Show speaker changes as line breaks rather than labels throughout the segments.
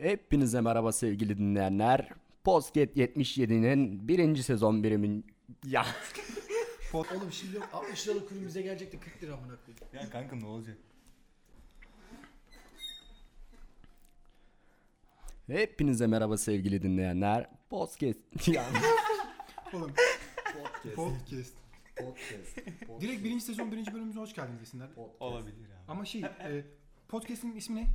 Hepinize merhaba sevgili dinleyenler. Posket 77'nin birinci sezon birimin... Ya
Oğlum şimdi yok 60 liralık ürün bize gelecekti 40 lira amına koyayım.
Ya kanka ne olacak?
hepinize merhaba sevgili dinleyenler. Posket... Ya
Oğlum podcast. Direkt birinci sezon birinci bölümümüze hoş geldiniz desinler.
Olabilir abi.
Ama şey e, podcast'in ismi ne?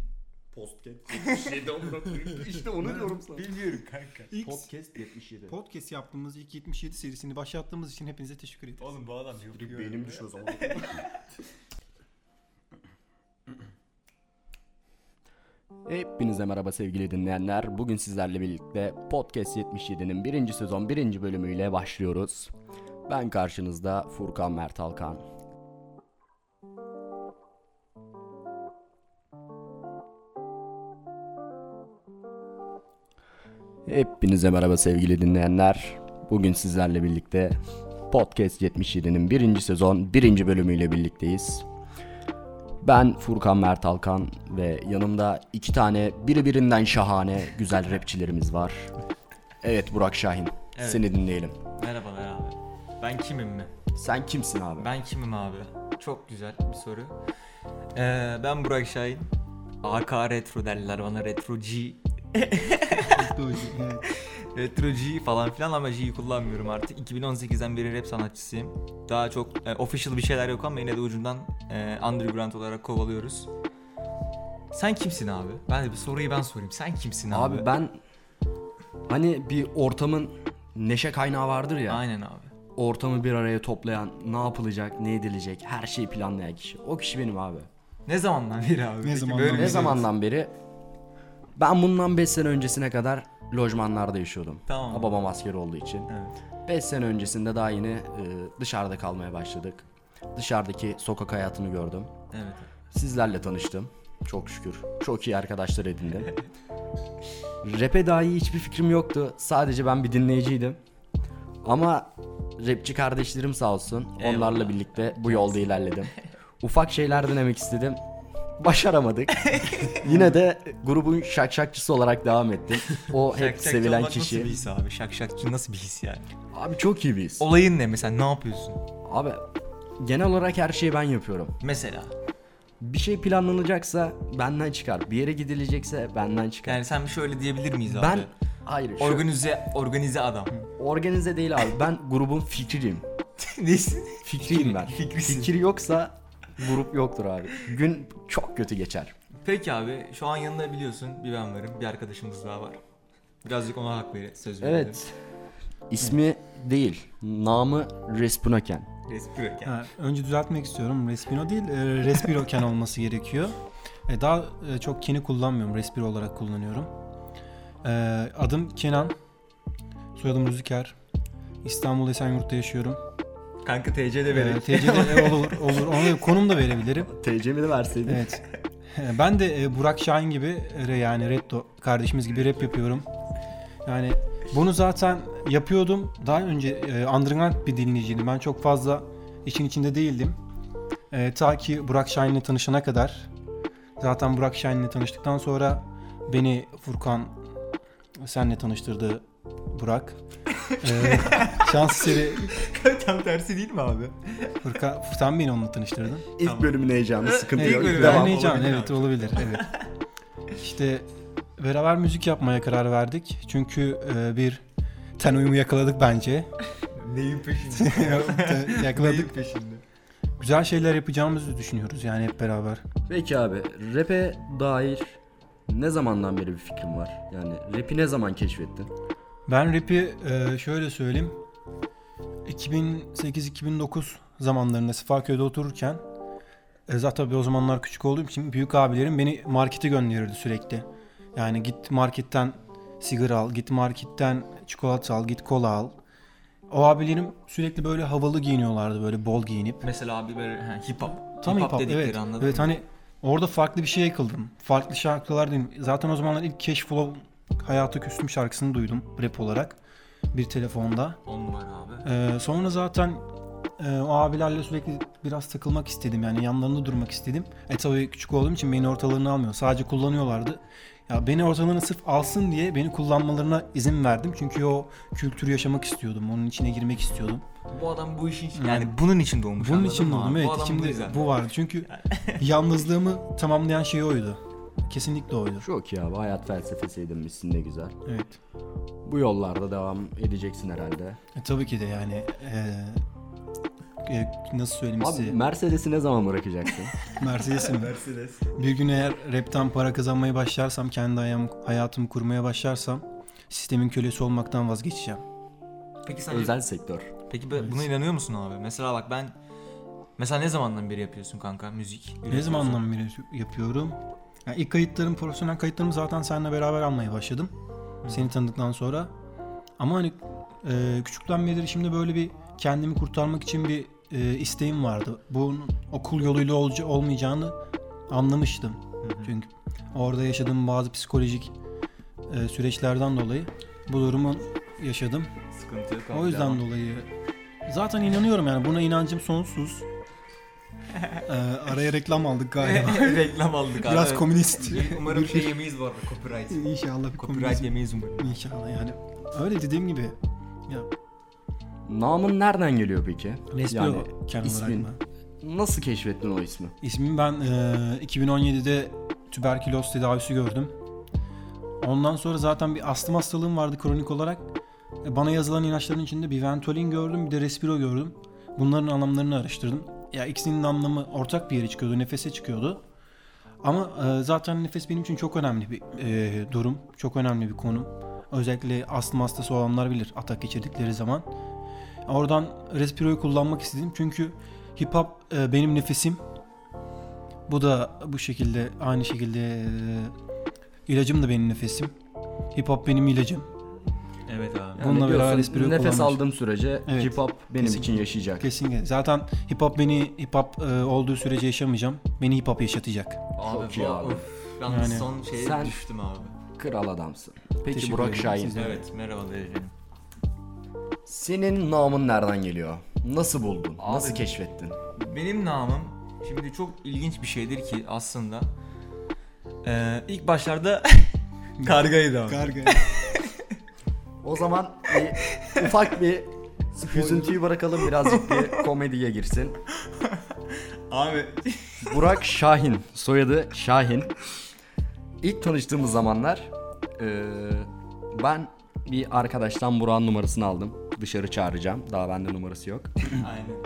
işte onu diyorum sana.
Bilmiyorum kanka.
X.
Podcast 77.
Podcast yaptığımız ilk 77 serisini başlattığımız için hepinize teşekkür ederiz.
Oğlum bu adam yok. yok.
Beynim düşüyor o zaman.
Hepinize merhaba sevgili dinleyenler. Bugün sizlerle birlikte Podcast 77'nin birinci sezon birinci bölümüyle başlıyoruz. Ben karşınızda Furkan Mert Alkan. Hepinize merhaba sevgili dinleyenler. Bugün sizlerle birlikte Podcast 77'nin birinci sezon birinci bölümüyle birlikteyiz. Ben Furkan Mert Alkan ve yanımda iki tane biri birinden şahane güzel rapçilerimiz var. Evet Burak Şahin,
Evet.
seni dinleyelim.
Merhabalar abi. Ben kimim mi?
Sen kimsin abi?
Ben kimim abi? Çok güzel bir soru. Ee, ben Burak Şahin. AK Retro derler bana Retro G.
Teknoloji, evet.
Retro G falan filan ama G'yi kullanmıyorum artık. 2018'den beri rap sanatçısıyım. Daha çok e, official bir şeyler yok ama yine de ucundan e, underground olarak kovalıyoruz. Sen kimsin abi? Ben de bir soruyu ben sorayım. Sen kimsin abi?
Abi ben hani bir ortamın neşe kaynağı vardır ya.
Aynen abi.
Ortamı bir araya toplayan, ne yapılacak, ne edilecek, her şeyi planlayan kişi. O kişi benim abi.
Ne zamandan beri abi? Peki
zamandan
böyle
beri?
Ne zamandan beri? Ben bundan 5 sene öncesine kadar lojmanlarda yaşıyordum.
Tamam.
Ha, Babam asker olduğu için.
Evet.
5 sene öncesinde daha yeni e, dışarıda kalmaya başladık. Dışarıdaki sokak hayatını gördüm.
Evet.
Sizlerle tanıştım. Çok şükür. Çok iyi arkadaşlar edindim. Rap'e dahi hiçbir fikrim yoktu. Sadece ben bir dinleyiciydim. Ama rapçi kardeşlerim sağ olsun. Onlarla
Eyvallah.
birlikte bu yolda ilerledim. Ufak şeyler denemek istedim. Başaramadık. Yine de grubun şakşakçısı olarak devam ettim. O hep
Şakşakçı
sevilen
olmak Nasıl bir
kişi.
his abi? Şakşakçı nasıl bir his yani?
Abi çok iyi biz.
Olayın ne mesela? Ne yapıyorsun?
Abi genel olarak her şeyi ben yapıyorum.
Mesela.
Bir şey planlanacaksa benden çıkar. Bir yere gidilecekse benden çıkar.
Yani sen şöyle diyebilir miyiz abi?
ben hayır. şu-
organize organize adam.
organize değil abi. Ben grubun fikriyim.
Nesin?
Fikriyim ben.
Fikrisin.
Fikir yoksa grup yoktur abi. Gün çok kötü geçer.
Peki abi şu an yanında biliyorsun bir ben varım bir arkadaşımız daha var. Birazcık ona hak ver söz verelim.
Evet. İsmi değil. Namı Respunaken.
Respiro yani.
Ha, önce düzeltmek istiyorum. Respino değil, e, Respiroken olması gerekiyor. E, daha e, çok keni kullanmıyorum. Respiro olarak kullanıyorum. E, adım Kenan. Soyadım Rüzgar. İstanbul Esenyurt'ta yaşıyorum.
Kanka TC de verelim.
Evet. TC'de e, olur olur. Onu konum da verebilirim.
TC'mi de verseydin.
Evet. Ben de e, Burak Şahin gibi e, yani Reddo kardeşimiz gibi rap yapıyorum. Yani bunu zaten yapıyordum. Daha önce e, underground bir dinleyiciydim. Ben çok fazla işin içinde değildim. E, ta ki Burak Şahin'le tanışana kadar. Zaten Burak Şahin'le tanıştıktan sonra beni Furkan senle tanıştırdı Burak. E, şans eseri
Tam tersi değil mi abi?
Furkan, Furkan beni onunla tanıştırdın.
İlk bölümün heyecanı sıkıntı
İlk
yok.
bölümün
Devam.
heyecanı.
Deneyeceğim
olabilir
evet
abi.
olabilir evet. işte beraber müzik yapmaya karar verdik. Çünkü e, bir ten uyumu yakaladık bence.
Neyin peşinde?
Te-
Neyin
yakaladık.
peşinde?
Güzel şeyler yapacağımızı düşünüyoruz yani hep beraber.
Peki abi rap'e dair ne zamandan beri bir fikrim var? Yani rap'i ne zaman keşfettin?
Ben rap'i e, şöyle söyleyeyim. 2008-2009 zamanlarında Sefaköy'de otururken e, zaten tabii o zamanlar küçük olduğum için büyük abilerim beni markete gönderirdi sürekli. Yani git marketten sigara al, git marketten çikolata al, git kola al. O abilerim sürekli böyle havalı giyiniyorlardı böyle bol giyinip.
Mesela abi böyle ha, hip hop.
Tam hip hop,
dedikleri
evet.
anladın
evet
mı?
hani orada farklı bir şey yakıldım. Farklı şarkılar dinledim. Zaten o zamanlar ilk Cash Flow Hayata Küstüm şarkısını duydum rap olarak bir telefonda.
On numara abi.
Ee, sonra zaten e, o abilerle sürekli biraz takılmak istedim yani yanlarında durmak istedim. E tabii küçük olduğum için beni ortalarına almıyor. Sadece kullanıyorlardı. Ya beni ortalarına sırf alsın diye beni kullanmalarına izin verdim. Çünkü o kültürü yaşamak istiyordum. Onun içine girmek istiyordum.
Bu adam bu işin için yani bunun için doğmuş.
Bunun
anladın
için
mı
buldum
abi?
evet.
Bu adam bu
içimde
yüzden.
bu, vardı. Çünkü yalnızlığımı tamamlayan şey oydu. Kesinlikle oydu.
Çok iyi abi hayat felsefesi edinmişsin ne güzel.
Evet.
Bu yollarda devam edeceksin herhalde.
E, tabii ki de yani e, e, nasıl söyleyeyim
Abi
size?
Mercedes'i ne zaman bırakacaksın?
Mercedes'im.
Mercedes.
Bir gün eğer rapten para kazanmaya başlarsam, kendi ayağım, hayatımı kurmaya başlarsam sistemin kölesi olmaktan vazgeçeceğim.
Peki sen
Özel sektör.
peki bu- buna inanıyor musun abi? Mesela bak ben mesela ne zamandan beri yapıyorsun kanka müzik?
Ne
üretiyorsun?
zamandan beri yapıyorum? Yani ilk kayıtlarım, profesyonel kayıtlarımı zaten seninle beraber almaya başladım. Seni tanıdıktan sonra. Ama hani e, küçükten beridir şimdi böyle bir kendimi kurtarmak için bir e, isteğim vardı. Bunun okul yoluyla olca- olmayacağını anlamıştım. Çünkü orada yaşadığım bazı psikolojik e, süreçlerden dolayı bu durumu yaşadım.
Sıkıntı yok abi.
O yüzden
devam.
dolayı zaten inanıyorum yani buna inancım sonsuz. Ee, araya reklam aldık galiba.
Reklam aldık abi.
Biraz komünist.
Umarım şey yemeyiz bu arada copyright.
İnşallah
Copyright
bir komünizm.
yemeyiz umarım.
İnşallah yani. Öyle dediğim gibi. Ya,
Namın nereden geliyor peki?
resmi
Yani
o kendi
ismin.
olarak mı?
Nasıl keşfettin o ismi?
İsmimi ben e, 2017'de tüberküloz tedavisi gördüm. Ondan sonra zaten bir astım hastalığım vardı kronik olarak. E, Bana yazılan ilaçların içinde bir Ventolin gördüm bir de Respiro gördüm. Bunların anlamlarını araştırdım. Ya ikisinin anlamı ortak bir yere çıkıyordu, nefese çıkıyordu. Ama e, zaten nefes benim için çok önemli bir e, durum, çok önemli bir konu. Özellikle astım hastası olanlar bilir atak geçirdikleri zaman. Oradan Respiro'yu kullanmak istedim çünkü hip hop e, benim nefesim. Bu da bu şekilde aynı şekilde e, ilacım da benim nefesim. Hip hop benim ilacım.
Evet abi.
Bununla
diyorsun,
beraber espri
Nefes
kullanmış.
aldığım sürece
Evet.
hip hop benim için yaşayacak.
Kesinlikle. Zaten hip hop beni hip hop e, olduğu sürece yaşamayacağım. Beni hip hop yaşatacak.
Abi
Çok iyi
bu-
abi.
Of, yalnız
Yani-
son şeye
Sen-
düştüm abi.
Kral adamsın. Peki
Teşekkür
Burak
ederim.
Şahin.
Siz de-
Evet merhaba efendim.
Senin namın nereden geliyor? Nasıl buldun?
Abi-
Nasıl keşfettin?
Benim namım şimdi çok ilginç bir şeydir ki aslında. Ee, ilk başlarda kargaydı abi.
Karga.
O zaman bir- ufak bir hüzüntüyü bırakalım birazcık bir komediye girsin.
Abi
Burak Şahin. Soyadı Şahin. İlk tanıştığımız zamanlar eee, ben bir arkadaştan Burak'ın numarasını aldım. Dışarı çağıracağım. Daha bende numarası yok.
aynen.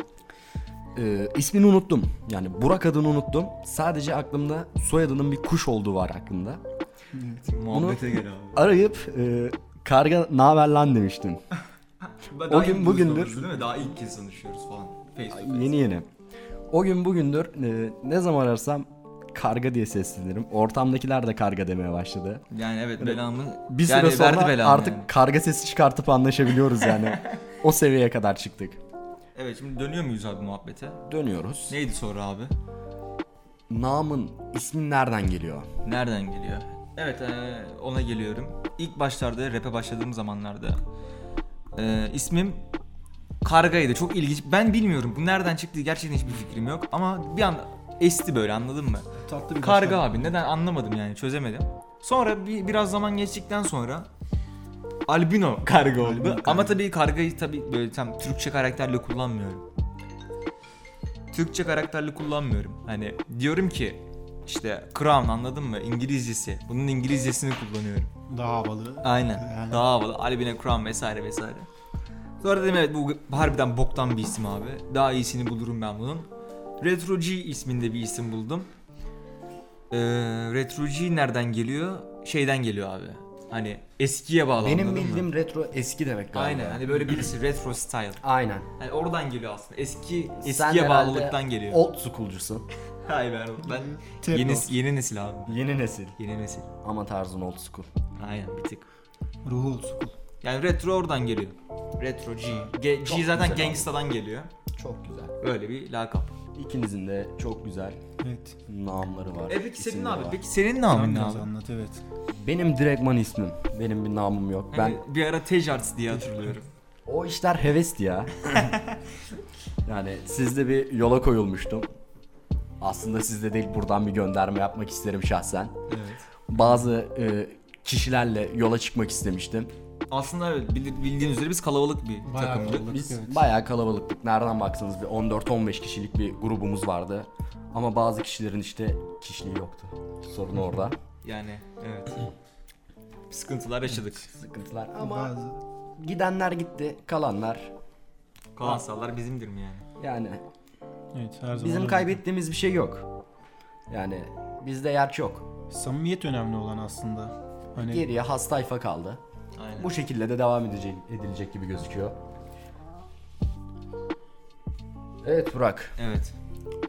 Eee ismini unuttum. Yani Burak adını unuttum. Sadece aklımda soyadının bir kuş olduğu var aklımda.
Muhabbete gel abi.
Arayıp eee, karga naber lan demiştim.
Ben
O
daha
gün
ilk
bugündür-
buluşmamızdı Değil mi? Daha ilk kez tanışıyoruz falan. Face to face.
Yeni yeni. O gün bugündür eee, ne zaman ararsam karga diye seslenirim. Ortamdakiler de karga demeye başladı.
Yani evet belamı
Bir süre
yani
sonra
verdi belamı
artık
yani.
karga sesi çıkartıp anlaşabiliyoruz yani. o seviyeye kadar çıktık.
Evet şimdi dönüyor muyuz abi muhabbete?
Dönüyoruz.
Neydi soru abi?
Namın ismin nereden geliyor?
Nereden geliyor? Evet eee, ona geliyorum. İlk başlarda rap'e başladığım zamanlarda eee, ismim Karga'ydı. Çok ilginç. Ben bilmiyorum bu nereden çıktığı gerçekten hiçbir fikrim yok. Ama bir an esti böyle anladın mı?
Tatlı bir
Karga
başlangıç.
abi neden anlamadım yani çözemedim. Sonra bir, biraz zaman geçtikten sonra albino karga oldu. Ama tabii kargayı tabii böyle tam Türkçe karakterle kullanmıyorum. Türkçe karakterle kullanmıyorum. Hani diyorum ki işte crown anladın mı? İngilizcesi. Bunun İngilizcesini kullanıyorum.
Daha havalı.
Aynen.
Yani.
Daha havalı. Albino Crown vesaire vesaire. Sonra dedim evet bu harbiden boktan bir isim abi. Daha iyisini bulurum ben bunun. Retro G isminde bir isim buldum. Ee, Retro G nereden geliyor? Şeyden geliyor abi. Hani eskiye bağlı
Benim
anladın mı?
bildiğim retro eski demek galiba.
Aynen hani böyle birisi retro style.
Aynen.
Hani oradan geliyor aslında. Eski eskiye
Sen herhalde
bağlılıktan geliyor.
Old schoolcusun.
Hayır ben, ben
Tep
yeni,
olsun.
yeni nesil abi.
Yeni nesil.
Yeni nesil.
Ama tarzın old school.
Aynen bir tık.
Ruhu olsun.
Yani retro oradan geliyor. Retro G. Ge- G zaten gangstadan geliyor.
Çok güzel.
Öyle bir lakap.
İkinizin de çok güzel
Evet.
namları var.
E peki senin
isimleri
abi?
var.
Peki senin ne
Sen
abi?
biraz anlat evet.
Benim direktman ismim. Benim bir namım yok.
Hani
Ben
Ben bir ara Tejarts diye hatırlıyorum.
o işler hevesti ya. Yani sizde bir yola koyulmuştum. Aslında sizde değil buradan bir gönderme yapmak isterim şahsen.
Evet.
Bazı e, kişilerle yola çıkmak istemiştim.
Aslında evet bildi- bildiğiniz üzere biz kalabalık bir
Bayağı
takımdık.
kalabalık,
Biz
evet.
bayağı kalabalıktık. Nereden baksanız bir 14-15 kişilik bir grubumuz vardı. Ama bazı kişilerin işte kişiliği yoktu. Sorun orada.
Yani evet. Sıkıntılar yaşadık.
Sıkıntılar ama
Bazı-
gidenler gitti, kalanlar
Kalan sağlar bizimdir mi yani?
yani
Evet, her zaman
bizim
öyle.
kaybettiğimiz bir şey yok. Yani bizde yer çok.
Samimiyet önemli olan aslında. Hani
Geriye has tayfa kaldı.
Aynen.
Bu şekilde de devam edecek edilecek gibi gözüküyor. Evet Burak,
Evet.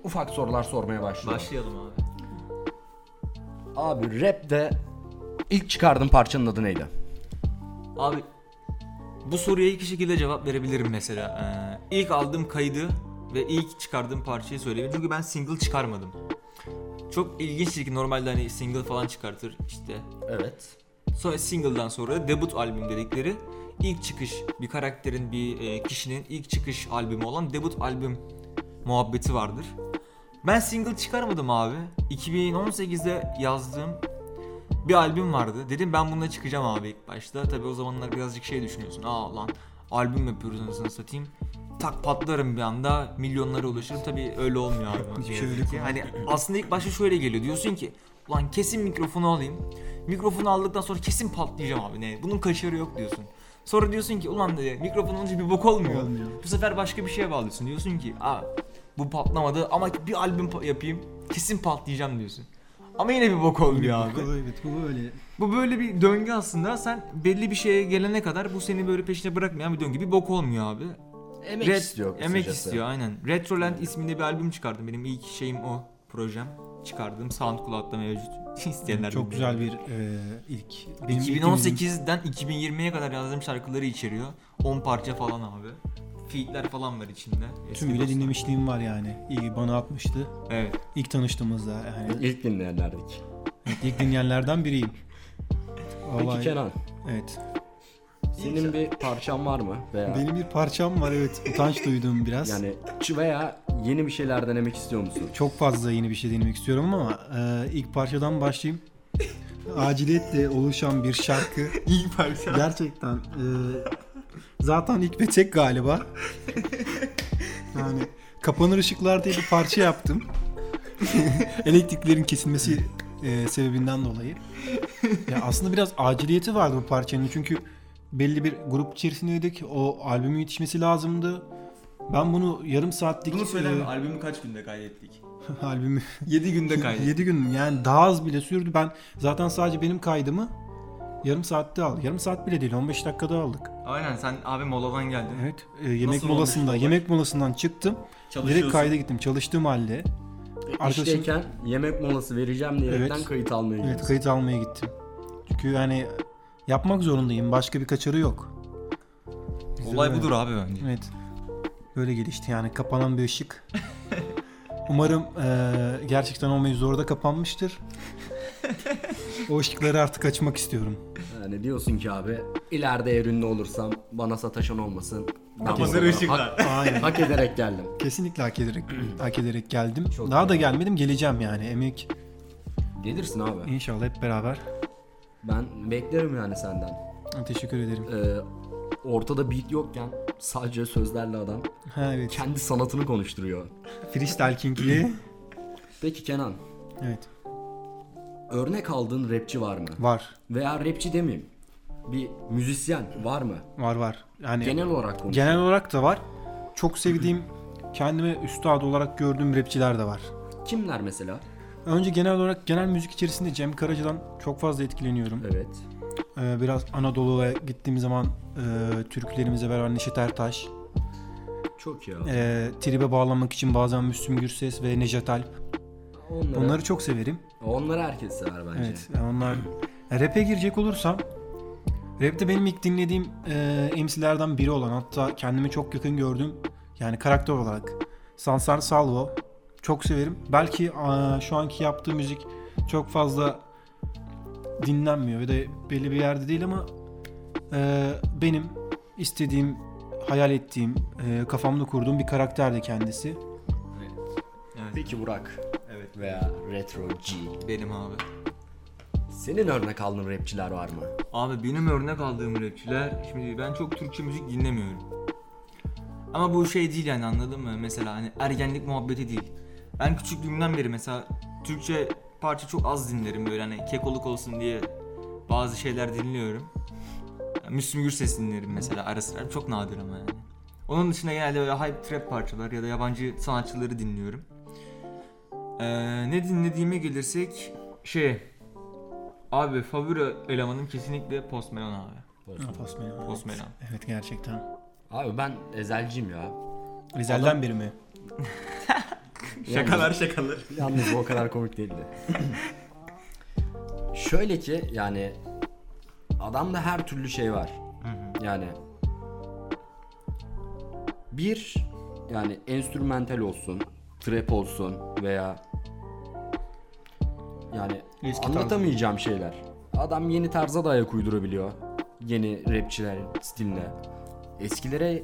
ufak sorular sormaya başlıyorum.
Başlayalım abi.
Abi rapte ilk çıkardığın parçanın adı neydi?
Abi bu soruya iki şekilde cevap verebilirim mesela. Ee, ilk aldığım kaydı ve ilk çıkardığım parçayı söyleyebilirim. Çünkü ben single çıkarmadım. Çok ilginçtir ki normalde hani single falan çıkartır işte.
Evet.
Sonra single'dan sonra debut albüm dedikleri ilk çıkış bir karakterin bir e, kişinin ilk çıkış albümü olan debut albüm muhabbeti vardır. Ben single çıkarmadım abi. 2018'de yazdığım bir albüm vardı. Dedim ben bununla çıkacağım abi ilk başta. Tabii o zamanlar birazcık şey düşünüyorsun. Aa lan albüm yapıyoruz anasını satayım. Tak patlarım bir anda milyonlara ulaşırım. Tabii öyle olmuyor abi.
Hiçbir şey öyle kolay
hani aslında ilk başta şöyle geliyor. Diyorsun ki ulan kesin mikrofonu alayım. Mikrofonu aldıktan sonra kesin patlayacağım abi. Ne? Bunun kaşarı yok diyorsun. Sonra diyorsun ki ulan dedi, mikrofon olunca bir bok olmuyor.
Olmuyor.
Bu sefer başka bir şeye bağlıyorsun. Diyorsun ki aa bu patlamadı ama bir albüm pa- yapayım kesin patlayacağım diyorsun. Ama yine bir bok olmuyor abi.
Bakalım, Evet, bu böyle.
Bu böyle bir döngü aslında. Sen belli bir şeye gelene kadar bu seni böyle peşine bırakmayan bir döngü. Bir bok olmuyor abi.
Emek
Red-
istiyor.
Emek
kısacası.
istiyor aynen. Retroland isminde bir albüm çıkardım. Benim ilk şeyim o projem. Çıkardığım SoundCloud'da mevcut. İsteyenler
Çok
bilir.
güzel bir e, ilk. Benim ilk
2018'den 2020'ye kadar yazdığım şarkıları içeriyor. 10 parça falan abi. Feat'ler falan var içinde. Eski
Tümüyle
dostlar.
dinlemişliğim var yani. İyi bana atmıştı.
Evet.
İlk tanıştığımızda yani
İlk dinleyenlerdik.
Evet, ilk dinleyenlerden biriyim.
Peki
Vallahi-
Kenan,
Evet.
senin bir parçan var mı? Veya
Benim bir parçam var evet. Utanç duyduğum biraz.
yani ç- veya yeni bir şeyler denemek istiyor musun?
Çok fazla yeni bir şey denemek istiyorum ama e, ilk parçadan başlayayım. Aciliyetle oluşan bir şarkı.
İyi parça.
Gerçekten e, zaten ilk ve tek galiba. Yani kapanır ışıklar diye bir parça yaptım. Elektriklerin kesilmesi e, sebebinden dolayı. Ya aslında biraz aciliyeti vardı bu parçanın çünkü belli bir grup içerisindeydik. O albümün yetişmesi lazımdı. Ben bunu yarım saatlik
Bunu
e,
söyleme. Albümü kaç günde kaydettik?
albümü
7 günde kaydettik.
7 gün yani daha az bile sürdü. Ben zaten sadece benim kaydımı yarım saatte aldım. Yarım saat bile değil 15 dakikada aldık.
Aynen sen abi moladan geldin.
Evet. e, yemek
Nasıl
molasında,
olmuş bu
yemek molasından çıktım. Direkt
Çalışıyorsun.
kayda gittim. Çalıştığım halde. Arkadaşım-
İşteyken yemek molası vereceğim diyerekten
Evet.
kayıt almaya gidiyorsun.
Evet, kayıt almaya gittim. Çünkü yani yapmak zorundayım. Başka bir kaçarı yok. Bizde
Olay
böyle.
budur abi bence.
Evet. Böyle gelişti yani kapanan bir ışık. Umarım e, gerçekten o mevzu orada kapanmıştır. o ışıkları artık açmak istiyorum.
Yani diyorsun ki abi ileride eğer ünlü olursam bana sataşan olmasın. Ben
Kapanır
buralara
ışıklar.
Hak,
Aynen.
hak ederek geldim.
Kesinlikle hak ederek, hak ederek geldim.
Çok
Daha da
iyi.
gelmedim geleceğim yani emek.
Gelirsin abi.
İnşallah hep beraber.
Ben beklerim yani senden.
Teşekkür ederim.
Ee, ortada beat yokken sadece sözlerle adam
Ha evet.
kendi sanatını konuşturuyor.
Freestyle King'li.
Peki Kenan,
evet.
örnek aldığın rapçi var mı?
Var.
Veya rapçi demeyeyim. Bir müzisyen var mı?
Var var. Yani
Genel olarak konuş.
genel olarak da var. Çok sevdiğim, kendime üstad olarak gördüğüm rapçiler de var.
Kimler mesela?
Önce genel olarak genel müzik içerisinde Cem Karaca'dan çok fazla etkileniyorum.
Evet.
Ee, biraz Anadolu'ya gittiğim zaman e, türkülerimize beraber Neşet Ertaş,
Çok ya.
e, tribe bağlanmak için bazen Müslüm Gürses ve Nejat Alp.
Onları, onları...
Onları çok severim.
herkes sever bence.
Evet, yani onlar rap'e girecek olursam rap'te benim ilk dinlediğim e, MC'lerden biri olan hatta kendimi çok yakın gördüğüm yani karakter olarak Sansar Salvo çok severim. Belki e, şu anki yaptığı müzik çok fazla dinlenmiyor ve de belli bir yerde değil ama e, benim istediğim hayal ettiğim, e, kafamda kurduğum bir karakterdi kendisi.
Evet.
Peki Burak
Evet.
veya Retro G.
Benim abi.
Senin örnek aldığın rapçiler var mı?
Abi benim örnek aldığım rapçiler şimdi ben çok Türkçe müzik dinlemiyorum. Ama bu şey değil yani anladın mı? Mesela hani ergenlik muhabbeti değil. Ben küçüklüğümden beri mesela Türkçe parça çok az dinlerim böyle hani kekoluk olsun diye bazı şeyler dinliyorum. Yani Müslüm Gürses dinlerim mesela ara sıra çok nadir ama yani. Onun dışında genelde böyle hype trap parçalar ya da yabancı sanatçıları dinliyorum. Ee, ne dinlediğime gelirsek şey Abi favori elemanım kesinlikle Post Malone abi.
Post Malone.
Post Malone.
Evet gerçekten.
Abi ben ezelciyim ya.
Ezelden beri mi?
Şakalar şakalar.
Yalnız bu o kadar komik değildi. Şöyle ki yani adamda her türlü şey var. Yani bir yani enstrümantal olsun, trap olsun veya yani
Eski tarzı.
anlatamayacağım şeyler. Adam yeni tarza da ayak uydurabiliyor. Yeni rapçilerin stiline. Eskilere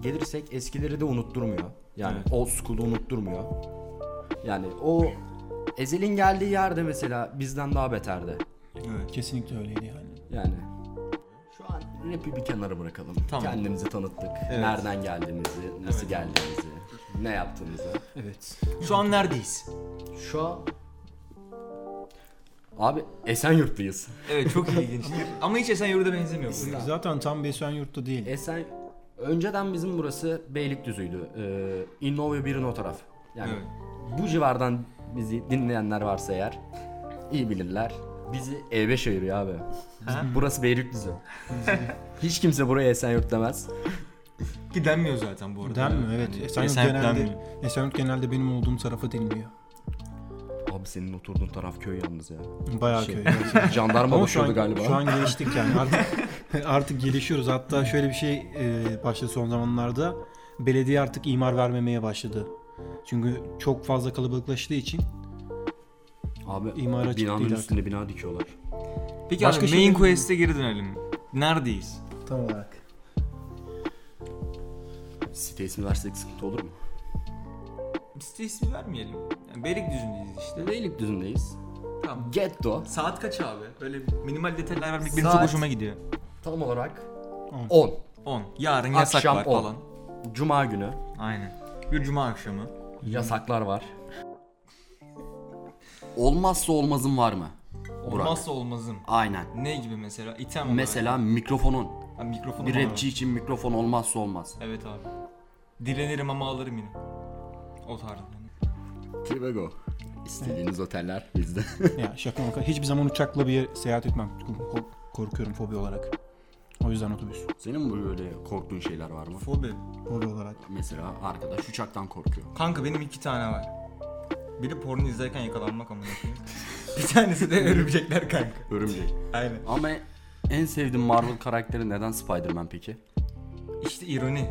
gelirsek eskileri de unutturmuyor. Yani
Evet.
old school'u unutturmuyor. Yani o Ezel'in geldiği yerde mesela bizden daha beterdi.
Evet.
Kesinlikle öyleydi yani.
Yani şu an rap'i bir kenara bırakalım.
Tamam.
Kendimizi tanıttık. Nereden geldiğimizi, nasıl geldiğimizi, ne yaptığımızı.
Evet.
Şu an neredeyiz?
Şu an Abi Esenyurt'tayız.
Evet çok ilginçtir. Ama hiç Esenyurt'a benzemiyor bu. ya.
Zaten tam Besuanyurt'ta değil.
Esen önceden bizim burası Beylikdüzü'ydü. Ee, İnnova 1'in o taraf. Yani
Evet.
bu civardan bizi dinleyenler varsa eğer iyi bilirler. Bizi E5 ayırıyor abi. Biz- Burası Beylikdüzü. Hiç kimse buraya Esenyurt demez.
Ki denmiyor zaten bu arada.
Den mi? Evet.
Yani
Esenyurt genelde,
denmiyor.
Esenyurt genelde benim olduğum tarafa deniliyor.
Abi senin oturduğun taraf köy yalnız ya.
Bayağı
Şey,
köy. gerçekten.
Jandarma
Ama şu
bakıyordu
an,
galiba.
şu an geliştik yani artık artık gelişiyoruz. Hatta şöyle bir şey e, başladı son zamanlarda. Belediye artık imar vermemeye başladı. Çünkü çok fazla kalabalıklaştığı için
Abi
imara açık
binanın
değil
üstünde bina dikiyorlar.
Peki
Başka
abi
şey
main
mi?
quest'e geri dönelim. Neredeyiz?
Tam olarak.
Site ismi versek sıkıntı olur mu?
Site ismi vermeyelim. Yani Beylikdüzü'ndeyiz işte.
Beylikdüzü'ndeyiz.
Tamam.
Getto
Saat kaç abi? Böyle minimal detaylar vermek benim çok
Saat-
hoşuma gidiyor.
tam olarak
On.
10.
10. Yarın yasak
Akşam
var
10.
falan.
Cuma günü
Aynen. Bir cuma akşamı.
yasaklar var. Olmazsa olmazın var mı? Burak.
Olmazsa olmazım.
Aynen.
Ne gibi mesela? İtem olarak.
Mesela mikrofonun.
Ha, mikrofon
Bir
olarak.
rapçi için mikrofon olmazsa olmaz.
Evet abi. Dilenirim ama alırım yine. O tarz yani.
Trivago. İstediğiniz oteller bizde.
Ya şaka maka. Hiçbir zaman uçakla bir yere seyahat etmem. Çünkü ko- korkuyorum fobi olarak. O yüzden otobüs.
Senin böyle korktuğun şeyler var mı?
Fobi.
Fobi olarak.
Mesela arkadaş uçaktan korkuyor.
Kanka benim iki tane var. Biri porno izlerken yakalanmak amına koyayım. Bir tanesi de örümcekler kanka.
Örümcek.
Aynen.
Ama en sevdiğin Marvel karakteri neden Spider-Man peki?
İşte ironi.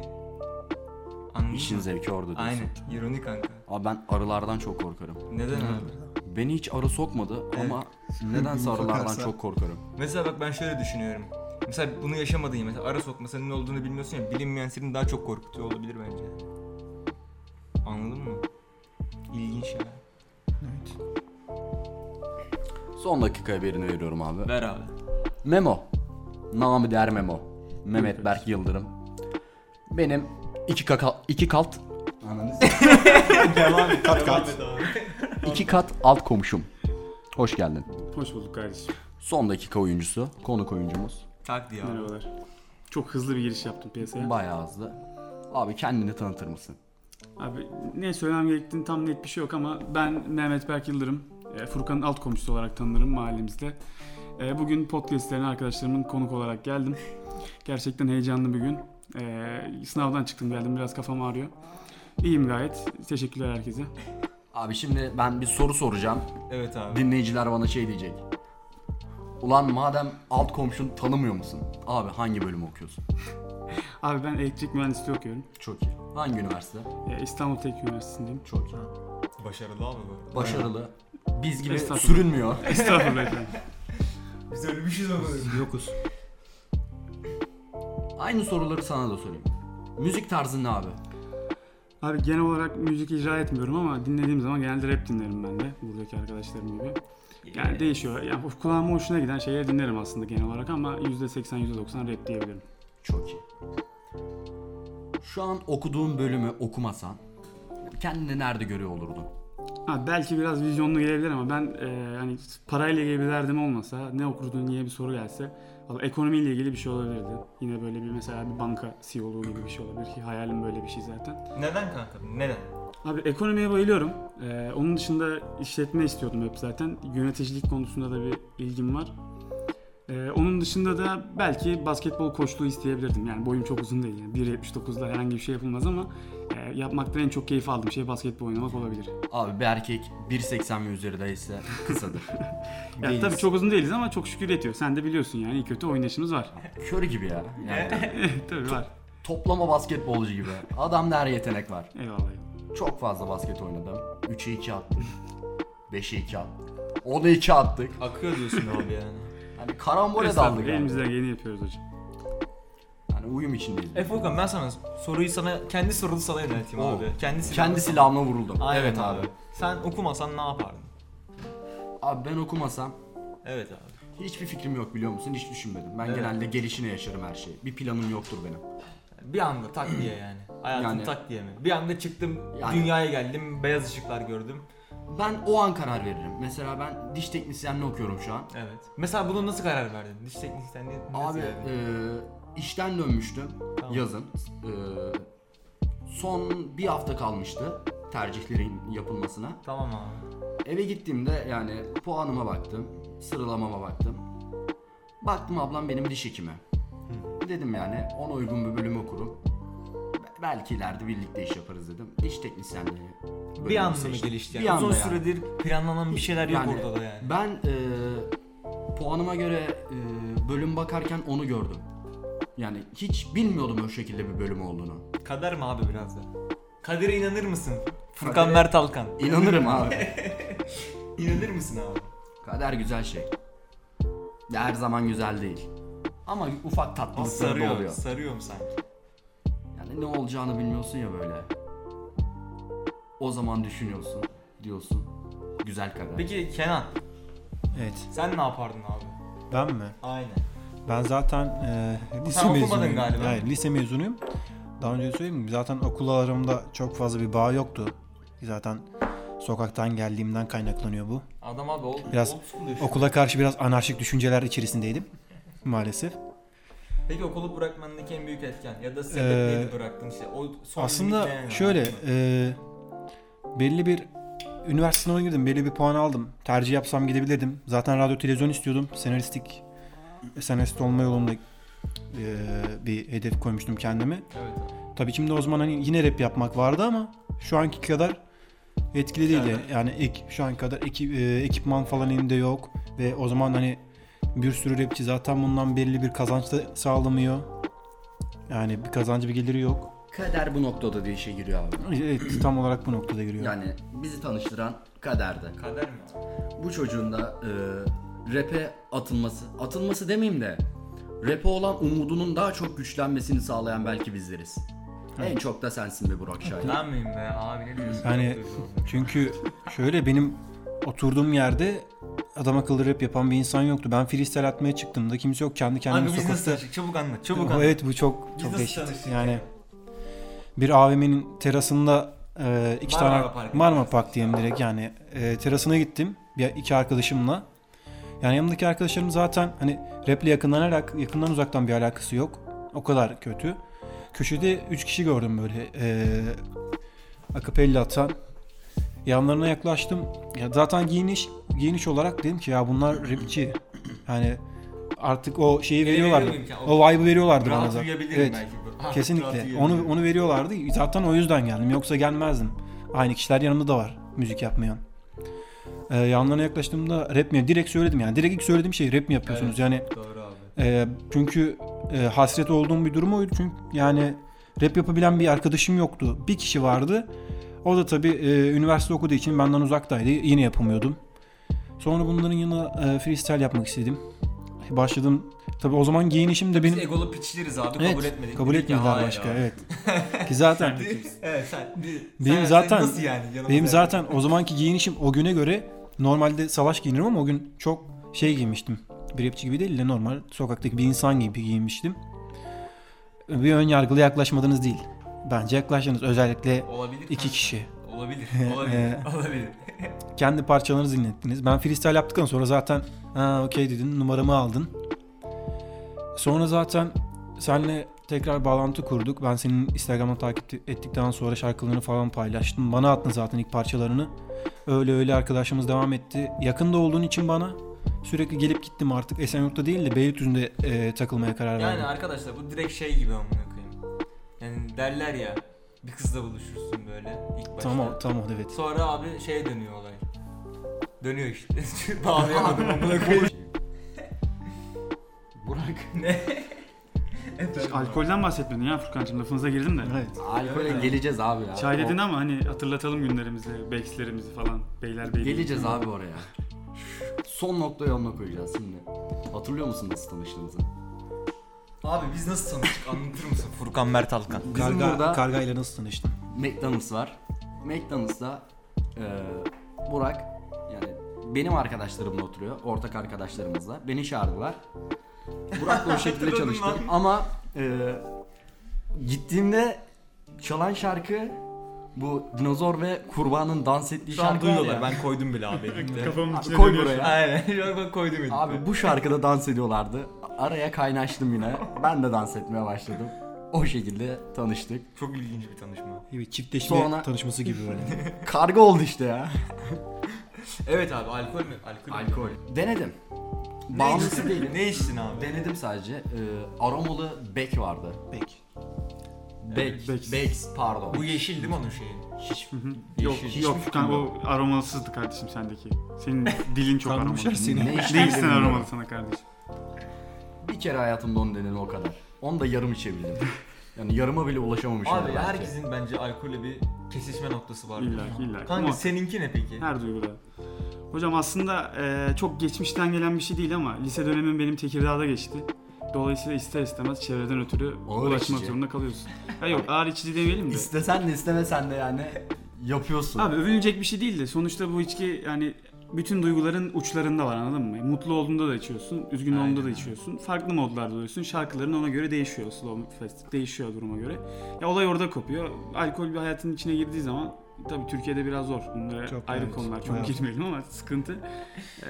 Anladın
İşin
mı?
zevki orada diyorsun.
Aynen. ironi kanka.
Abi ben arılardan çok korkarım.
Neden abi?
Beni hiç arı sokmadı ama nedense arılardan çok korkarım.
Mesela bak ben şöyle düşünüyorum. Mesela bunu yaşamadın ya. Mesela ara sokmasının ne olduğunu bilmiyorsun ya. Bilinmeyen seni daha çok korkutuyor olabilir bence. Anladın mı? İlginç ya.
Evet.
Son dakika haberini veriyorum abi.
Ver abi.
Memo. Namı der Memo. Mehmet Berk Yıldırım. Benim iki, kaka, iki kat
Devam et. Kat kat.
iki kat alt komşum. Hoş geldin.
Hoş bulduk kardeşim.
Son dakika oyuncusu, konuk oyuncumuz.
Tak diye abi.
Merhabalar. Çok hızlı bir giriş yaptım piyasaya.
Bayağı hızlı. Abi kendini tanıtır mısın?
Abi ne söylemem gerektiğini tam net bir şey yok ama ben Mehmet Berk Yıldırım. E, Furkan'ın alt komşusu olarak tanınırım mahallemizde. E, Bugün podcastlerine arkadaşlarımın konuk olarak geldim. Gerçekten heyecanlı bir gün. E, Sınavdan çıktım geldim biraz kafam ağrıyor. İyiyim gayet. Teşekkürler herkese.
Abi şimdi ben bir soru soracağım.
Evet abi.
Dinleyiciler bana şey diyecek. Ulan madem alt komşun tanımıyor musun? Abi hangi bölümü okuyorsun?
Abi ben elektrik mühendisliği okuyorum.
Çok iyi. Hangi üniversite?
E, İstanbul Teknik Üniversitesi'ndeyim.
Çok iyi.
Başarılı abi bu. arada.
Başarılı. Biz gibi
Estağfurullah.
sürünmüyor.
Estağfurullah efendim.
Biz ölmüşüz ama.
Yokuz.
Aynı soruları sana da sorayım. Müzik tarzın ne abi?
Abi genel olarak müzik icra etmiyorum ama dinlediğim zaman genelde rap dinlerim ben de buradaki arkadaşlarım gibi. Yani değişiyor. Yani of- kulağıma hoşuna giden şeyleri dinlerim aslında genel olarak ama %80 %90 rap diyebilirim.
Çok iyi. Şu an okuduğun bölümü okumasan kendini nerede görüyor olurdun?
Ha, belki biraz vizyonlu gelebilir ama ben e, hani parayla ilgili bir derdim olmasa ne okurdun diye bir soru gelse valla ekonomiyle ilgili bir şey olabilirdi. Yine böyle bir mesela bir banka CEO'luğu gibi bir şey olabilir ki hayalim böyle bir şey zaten.
Neden kanka? Neden?
Abi ekonomiye bayılıyorum. Ee, onun dışında işletme istiyordum hep zaten. Yöneticilik konusunda da bir ilgim var. Ee, onun dışında da belki basketbol koçluğu isteyebilirdim. Yani boyum çok uzun değil. Yani 1.79'da herhangi bir şey yapılmaz ama e, yapmaktan en çok keyif aldığım şey basketbol oynamak olabilir.
Abi bir erkek 1.80 ve üzerindeyse kısadır.
Ya tabii çok uzun değiliz ama çok şükür yetiyor. Sen de biliyorsun yani iyi kötü oynayışımız var.
Kör gibi ya. Yani
tabii var.
toplama basketbolcu gibi. Adamda her yetenek var.
Eyvallah.
Çok fazla basket oynadım. 3'e 2 attık. 5'e 2 attık. 10'a 2 attık.
Akıyor diyorsun abi yani.
Hani karambole daldık.
Estağfurullah,
Yani.
Elimizden geleni yapıyoruz hocam.
Hani uyum içindeyiz.
E Furkan ben sana soruyu sana kendi sorunu sana yönelteyim
Oo.
abi. Kendi silahını-
Kendi silahımla vuruldum.
Aynen
evet abi.
Sen okumasan ne yapardın?
Abi ben okumasam
Evet abi.
hiçbir fikrim yok biliyor musun? Hiç düşünmedim. Ben
Evet.
genelde gelişine yaşarım her şeyi. Bir planım yoktur benim.
Bir anda tak diye yani. Hayatın
Yani-
tak diye mi? Bir anda çıktım
Yani-
dünyaya geldim beyaz ışıklar gördüm.
Ben o an karar veririm. Mesela ben diş teknisyenliği okuyorum şu an.
Evet. Mesela bunu nasıl karar verdin? Diş teknisyen diye-
Abi
nasıl yani?
e, işten dönmüştüm
Tamam.
yazın. E, son bir hafta kalmıştı tercihlerin yapılmasına.
Tamam abi.
Eve gittiğimde yani puanıma baktım, sıralamama baktım. Baktım ablam benim diş hekimi. Dedim yani ona uygun bir bölüm okurum. Be- Belki ileride birlikte iş yaparız dedim. Diş teknisyenliği.
Bir
bölümünü
anda mı
seçtim.
gelişti?
Bir
Yani? Uzun
anda yani.
süredir planlanan bir şeyler yok
Yani
ortada yani.
Ben e, puanıma göre e, bölüm bakarken onu gördüm. Yani hiç bilmiyordum o şekilde bir bölüm olduğunu.
Kader mi abi biraz da? Kadere inanır mısın? Furkan
Kadere-
Mert Alkan.
İnanırım abi.
İnanır mısın abi?
Kader güzel şey. Ya Her zaman güzel değil. Ama ufak tatlılıkları da
Sarıyor,
oluyor.
sarıyorum sanki.
Yani ne olacağını bilmiyorsun ya böyle. O zaman düşünüyorsun diyorsun. Güzel kader.
Peki Kenan,
Evet.
sen ne yapardın abi?
Ben mi?
Aynen.
Ben zaten e, lise
okumadın
mezunuyum.
galiba.
Hayır, lise mezunuyum. Daha önce de söyleyeyim mi? Zaten okul aramda çok fazla bir bağ yoktu. Zaten sokaktan geldiğimden kaynaklanıyor bu.
Adam abi old,
Biraz
old school yaşıyor.
Okula karşı biraz anarşik düşünceler içerisindeydim maalesef.
Peki okulu bırakmandaki en büyük etken ya da sebep neydi
Ee,
bıraktın işte? O son
Aslında
limitleyen yani.
şöyle e, belli bir üniversite sınavına girdim. Belli bir puan aldım. Tercih yapsam gidebilirdim. Zaten radyo televizyon istiyordum. Senaristik senarist olma yolunda e, bir hedef koymuştum kendime.
Evet abi.
Tabii şimdi o zaman hani yine rap yapmak vardı ama şu anki kadar etkili değil. Yani, yani ek, şu anki kadar eki- e, ekipman falan elimde yok. Ve o zaman hani bir sürü rapçi zaten bundan belli bir kazanç da sağlamıyor. Yani bir kazancı bir geliri yok.
Kader bu noktada diye işe giriyor abi.
Evet tam olarak bu noktada giriyor.
Yani bizi tanıştıran kaderdi.
Kader mi abi?
Bu çocuğun da e, rap'e atılması, atılması demeyeyim de rap'e olan umudunun daha çok güçlenmesini sağlayan belki bizleriz. En çok da sensin be Burak Şahin.
Ben miyim be abi ne diyorsun?
Yani çünkü şöyle benim oturduğum yerde adam akıllı rap yapan bir insan yoktu. Ben freestyle atmaya çıktığımda kimse yok. Kendi
Abi
kendime
biz nasıl
sokakta
tanıştık? Çabuk anlat,
O,
çabuk anlat.
Evet bu çok
Biz
çok
nasıl
değişik.
tanıştık
Yani bir AVM'nin terasında e, iki
Marmara
tane
Park.
Marmara Park diyeyim direkt yani e, terasına gittim bir iki arkadaşımla. Yani yanımdaki arkadaşlarım zaten hani raple yakından alak- yakından uzaktan bir alakası yok. O kadar kötü. Köşede üç kişi gördüm böyle e, akapella atan. Yanlarına yaklaştım. Ya zaten giyiniş giyiniş olarak dedim ki ya bunlar rapçi. Yani artık o şeyi
Ele
veriyorlardı.
veriyor muyum ki?
O vibe'ı veriyorlardı bana
Rahat
da.
uyuyabilirim
Evet.
belki. bu. Ha, rahat
Kesinlikle.
uyuyabilirim.
Onu onu veriyorlardı. Zaten o yüzden geldim. Yoksa gelmezdim. Aynı kişiler yanımda da var. Müzik yapmayan. Ee, yanlarına yaklaştığımda rap mi? Direkt söyledim yani. Direkt ilk söylediğim şey rap mi
Evet.
yapıyorsunuz? Yani
Doğru abi.
e, çünkü e, hasret olduğum bir durum oydu. Çünkü yani rap yapabilen bir arkadaşım yoktu. Bir kişi vardı. O da tabii e, üniversite okuduğu için benden uzaktaydı. Yine yapamıyordum. Sonra bunların yanına e, freestyle yapmak istedim. başladım. Tabii o zaman giyinişim de
Biz
benim
egolu piçleriz abi
Evet,
kabul etmedik.
kabul
Dedik ki,
etmediler
"Hayır
başka.
abi."
Evet. Ki zaten
Evet sen.
Benim
sen-
zaten-
sen nasıl yani? Yanımıza-
Benim zaten o zamanki giyinişim o güne göre normalde salaş giyinirim ama o gün çok şey giymiştim. Bir rapçi gibi değil de normal sokaktaki bir insan gibi giyinmiştim. Bir ön yargılı yaklaşmadınız değil. Bence yaklaştınız özellikle
olabilir.
iki
kanka.
kişi.
Olabilir. Olabilir.
Ee.
olabilir.
Kendi parçalarınızı dinlettiniz. Ben freestyle yaptıktan sonra zaten ha okey dedin numaramı aldın. Sonra zaten senle tekrar bağlantı kurduk. Ben senin Instagram'dan takip ettikten sonra şarkılarını falan paylaştım. Bana attın zaten ilk parçalarını. Öyle öyle arkadaşımız devam etti. Yakında olduğun için bana sürekli gelip gittim artık. Esenyurt'ta değil de Beylikdüzü'nde e, takılmaya karar verdim.
Yani arkadaşlar bu direkt şey gibi amına koyayım. Yani derler ya bir kızla buluşursun böyle ilk başta.
Tamam tamam evet.
Sonra abi şeye dönüyor olay. Dönüyor işte. Bağlayamadım amına koyayım.
Burak.
ne?
Hiç alkolden bahsetmedin ya Furkan'cığım lafınıza girdim de.
Evet.
Alkole geleceğiz abi ya.
Çay dedin ama hani hatırlatalım günlerimizi, bekslerimizi falan. Beyler beyler.
Geleceğiz abi oraya. Son noktayı onunla koyacağız şimdi. Hatırlıyor musun nasıl tanıştığımızı?
Abi biz nasıl tanıştık anlatır mısın? Furkan Mert Alkan.
Bizim
Karga,
burada
Kargayla nasıl tanıştın?
McDonald's var. McDonald's'ta eee Burak yani benim arkadaşlarımla oturuyor. Ortak arkadaşlarımızla. Beni çağırdılar. Burak'la o şekilde
Hatırladım
çalıştım. Ama eee, gittiğimde çalan şarkı bu dinozor ve kurbanın dans ettiği
Şu an
şarkı var
duyuyorlar.
ya.
Ben koydum bile abi edikte.
Kafamın
Abi
içine
koy
dönüyor.
buraya.
Aynen. Şu an ben koydum edikte.
Abi bu şarkıda dans ediyorlardı. Araya kaynaştım yine. Ben de dans etmeye başladım. O şekilde tanıştık.
Çok ilginç bir tanışma.
Evet çiftleşme
Sonra-
tanışması gibi böyle.
Karga oldu işte ya.
Evet abi alkol mü? Alkol.
Alkol. Denedim.
Ne
Bağımlısı
içtin?
değilim.
Ne içtin abi?
Denedim sadece. Ee, aromalı bek vardı.
Peki.
Bek.
Bex.
Bex pardon.
Bu yeşil değil mi onun şeyi?
Hiç
Yok
Yeşil.
yok Furkan o aromalısızdı kardeşim sendeki. Senin dilin çok aromalı.
Kandırmışlar seni.
ne içtiğimi
Değilsin
bilmiyorum.
aromalı sana kardeşim.
Bir kere hayatımda onu denedim o kadar. Onu da yarım içebildim. Yani yarıma bile ulaşamamışım.
Abi
belki.
herkesin bence alkolle bir kesişme noktası var.
İlla ki, illa ki.
Kanka
Ama-
seninki ne peki?
Her duyguda. Hocam aslında e, çok geçmişten gelen bir şey değil ama lise dönemim benim Tekirdağ'da geçti. Dolayısıyla ister istemez çevreden ötürü
Ağır
ulaşmak
içici.
zorunda kalıyorsun. Ha yok ağır içici demeyelim de.
İstesen de istemesen de yani yapıyorsun.
Abi övünecek bir şey değil de sonuçta bu içki yani bütün duyguların uçlarında var anladın mı? Mutlu olduğunda da içiyorsun, üzgün
Aynen
olduğunda da
abi.
içiyorsun. Farklı modlarda oluyorsun. Şarkıların ona göre değişiyor. Slow Fest değişiyor duruma göre. Ya olay orada kopuyor. Alkol bir hayatın içine girdiği zaman tabii Türkiye'de biraz zor. Bunlara
Çok,
ayrı
evet.
konular çok
Bayağı.
girmeyelim ama sıkıntı.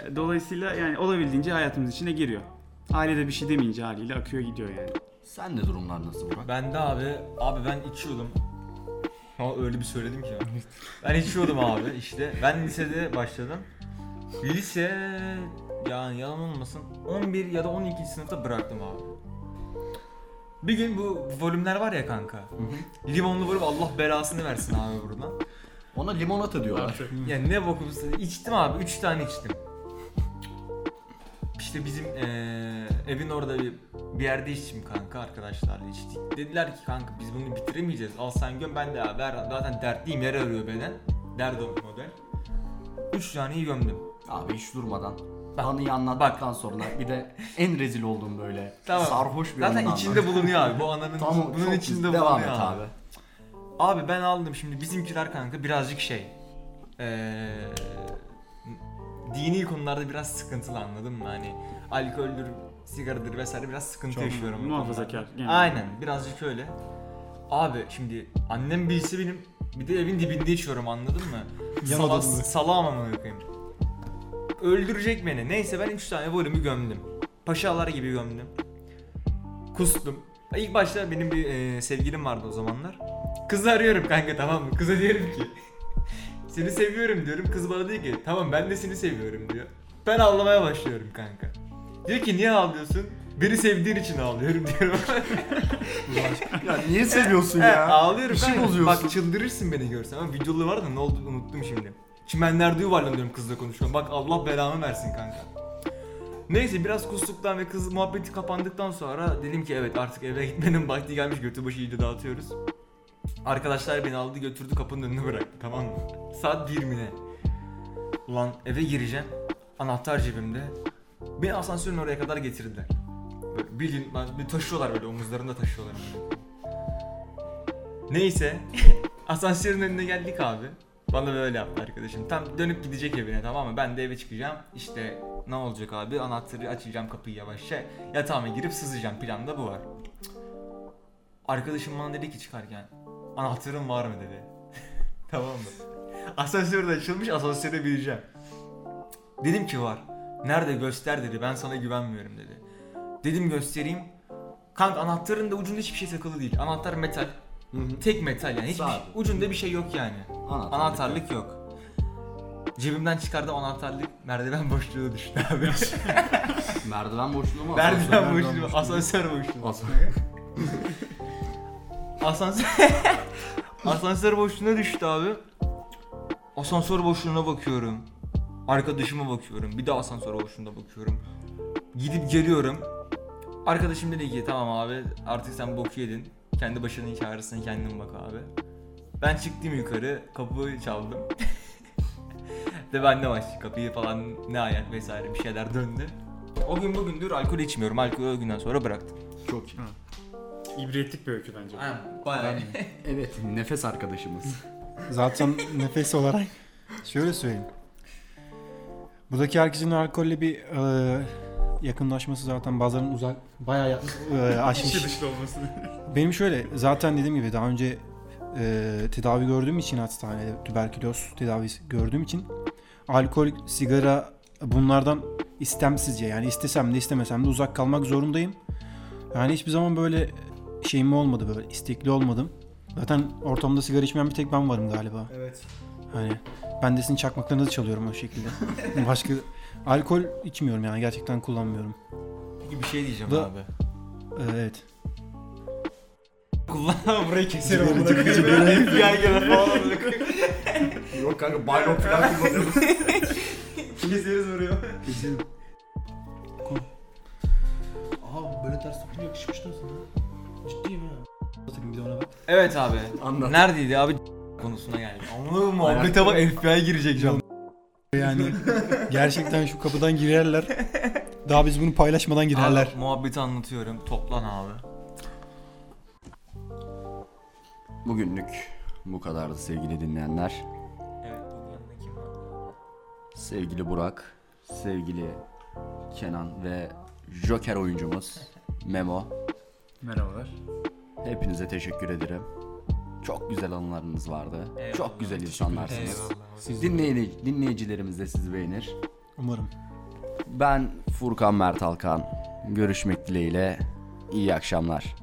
Ee, Dolayısıyla yani olabildiğince hayatımız içine giriyor. Ailede bir şey demeyince haliyle akıyor gidiyor yani.
Sen de durumlar nasıl Burak?
Ben de abi, abi ben içiyordum. Ama öyle bir söyledim ki. ya. Ben içiyordum abi işte. Ben lisede başladım. Lise yani yalan olmasın 11 ya da 12. sınıfta bıraktım abi. Bir gün bu volümler var ya kanka. Limonlu volüm Allah belasını versin abi buradan.
Ona limonata diyorlar.
Yani ne bokumsa içtim abi 3 tane içtim. İşte bizim eee, evin orada bir, bir yerde içtim kanka arkadaşlarla içtik. Dediler ki kanka biz bunu bitiremeyeceğiz. Al sen göm ben de abi ver. Zaten dertliyim yer arıyor benden. Dert o model. 3 taneyi gömdüm.
Abi hiç durmadan.
Bak,
Anıyı anlattıktan sonra bir de en rezil olduğum böyle
Tamam.
sarhoş bir
Zaten
anı
içinde
anlat.
bulunuyor abi. Bu ananın
Tamam,
bunun
çok
içinde
iyi.
bulunuyor
Devam et abi.
Abi ben aldım şimdi bizimkiler kanka birazcık şey eee, dini konularda biraz sıkıntılı anladın mı hani alkoldür sigaradır vesaire biraz sıkıntı
Çok
yaşıyorum. bu
Muhafazakar.
konularda.
genel.
Aynen birazcık öyle. Abi şimdi annem bilse benim bir de evin dibinde içiyorum anladın mı?
Yan
Sala,
odada.
salam amına koyayım. Öldürecek beni. Neyse ben 3 tane volümü gömdüm. Paşalar gibi gömdüm. Kustum. İlk başta benim bir e, sevgilim vardı o zamanlar. Kızı arıyorum kanka tamam mı? Kıza diyorum ki seni seviyorum diyorum. Kız bana diyor ki tamam ben de seni seviyorum diyor. Ben ağlamaya başlıyorum kanka. Diyor ki niye ağlıyorsun? Beni sevdiğin için ağlıyorum diyorum.
Ya niye seviyorsun
Evet,
ya?
ağlıyorum
İşi
kanka.
bozuyorsun.
Bak çıldırırsın beni görsen. Ama videoları var da ne oldu unuttum şimdi. Çimenlerde yuvarlanıyorum kızla konuşuyorum. Bak Allah belamı versin kanka. Neyse biraz kustuktan ve kız muhabbeti kapandıktan sonra dedim ki evet artık eve gitmenin vakti gelmiş götü başı iyice dağıtıyoruz. Arkadaşlar beni aldı götürdü kapının önüne bıraktı tamam mı? Saat 20'ne. Ulan eve gireceğim. Anahtar cebimde. Beni asansörün oraya kadar getirdiler. Böyle bildiğin ben- beni taşıyorlar böyle omuzlarında taşıyorlar. böyle. Neyse asansörün önüne geldik abi. Bana böyle yaptı arkadaşım. Tam dönüp gidecek evine tamam mı? Ben de eve çıkacağım. İşte ne olacak abi? Anahtarı açacağım kapıyı yavaşça. Yatağıma girip sızacağım. Planda bu var. Cık. Arkadaşım bana dedi ki çıkarken anahtarın var mı dedi. tamam mı? Asansör de açılmış asansöre bineceğim. Dedim ki var. Nerede göster dedi. Ben sana güvenmiyorum dedi. Dedim göstereyim. Kanka anahtarın da ucunda hiçbir şey takılı değil. Anahtar metal. Tek metal yani. Hiçbir
Sağ.
ucunda bir şey yok yani.
Anahtarlık
Anahtarlık yok. Cebimden çıkardım anahtarlık. Merdiven boşluğuna düştü abi.
Merdiven boşluğu mu?
merdiven boşluğu, asansör boşluğu.
Asansör.
Asansör Asansör boşluğuna düştü abi. Asansör boşluğuna bakıyorum. Arkadaşıma bakıyorum. Bir daha asansör boşluğuna bakıyorum. Gidip geliyorum. Arkadaşım dedi ki tamam abi artık sen bok yedin. Kendi başının çaresine kendin bak abi. Ben çıktım yukarı kapıyı çaldım. De ben de başladı kapıyı falan ne ayak vesaire bir şeyler döndü. O gün bugündür alkol içmiyorum. Alkolü o günden sonra bıraktım.
Çok iyi.
İbretlik bir öykü bence. bu.
Aynen. Bayağı.
Evet nefes arkadaşımız.
Zaten nefes olarak şöyle söyleyeyim. Buradaki herkesin alkolle bir e, yakınlaşması zaten bazılarının uzak bayağı ya- e,
İşi
aşmış.
dışlı olması.
Benim şöyle zaten dediğim gibi daha önce e, tedavi gördüğüm için hastanede tüberküloz tedavisi gördüğüm için alkol, sigara bunlardan istemsizce yani istesem de istemesem de uzak kalmak zorundayım. Yani hiçbir zaman böyle şeyim olmadı böyle istekli olmadım. Zaten ortamda sigara içmeyen bir tek ben varım galiba.
Evet.
Hani ben de sizin çakmaklarınızı çalıyorum o şekilde. Başka alkol içmiyorum yani gerçekten kullanmıyorum.
Peki bir şey diyeceğim
Da-
abi.
Ee, Evet.
Kullanma burayı keserim.
Sigara,
amına koyayım.
sigara.
FBI gibi falan amına koyayım.
Yok kanka baylok falan kullanıyoruz.
Keseriz vuruyor.
Aha böyle ters topun yakışmıştı sana. Ciddiyim ha.
Bakayım bir de ona bak.
Evet abi.
Anlat.
Neredeydi abi konusuna geldik. Anladın mı?
Aynen.
Muhabbete bak FBI girecek canım.
Yani gerçekten şu kapıdan girerler. Daha biz bunu paylaşmadan girerler.
Abi, muhabbeti anlatıyorum. Toplan abi.
Bugünlük bu kadardı sevgili dinleyenler.
Evet bu yanında kim var?
Sevgili Burak, sevgili Kenan ve Joker oyuncumuz Memo.
Merhabalar.
Hepinize teşekkür ederim. Çok güzel anılarınız vardı.
Eyvallah.
Çok güzel insanlarsınız.
Eyvallah.
Dinleyici, dinleyicilerimiz de sizi beğenir.
Umarım.
Ben Furkan Mert Alkan. Görüşmek dileğiyle. İyi akşamlar.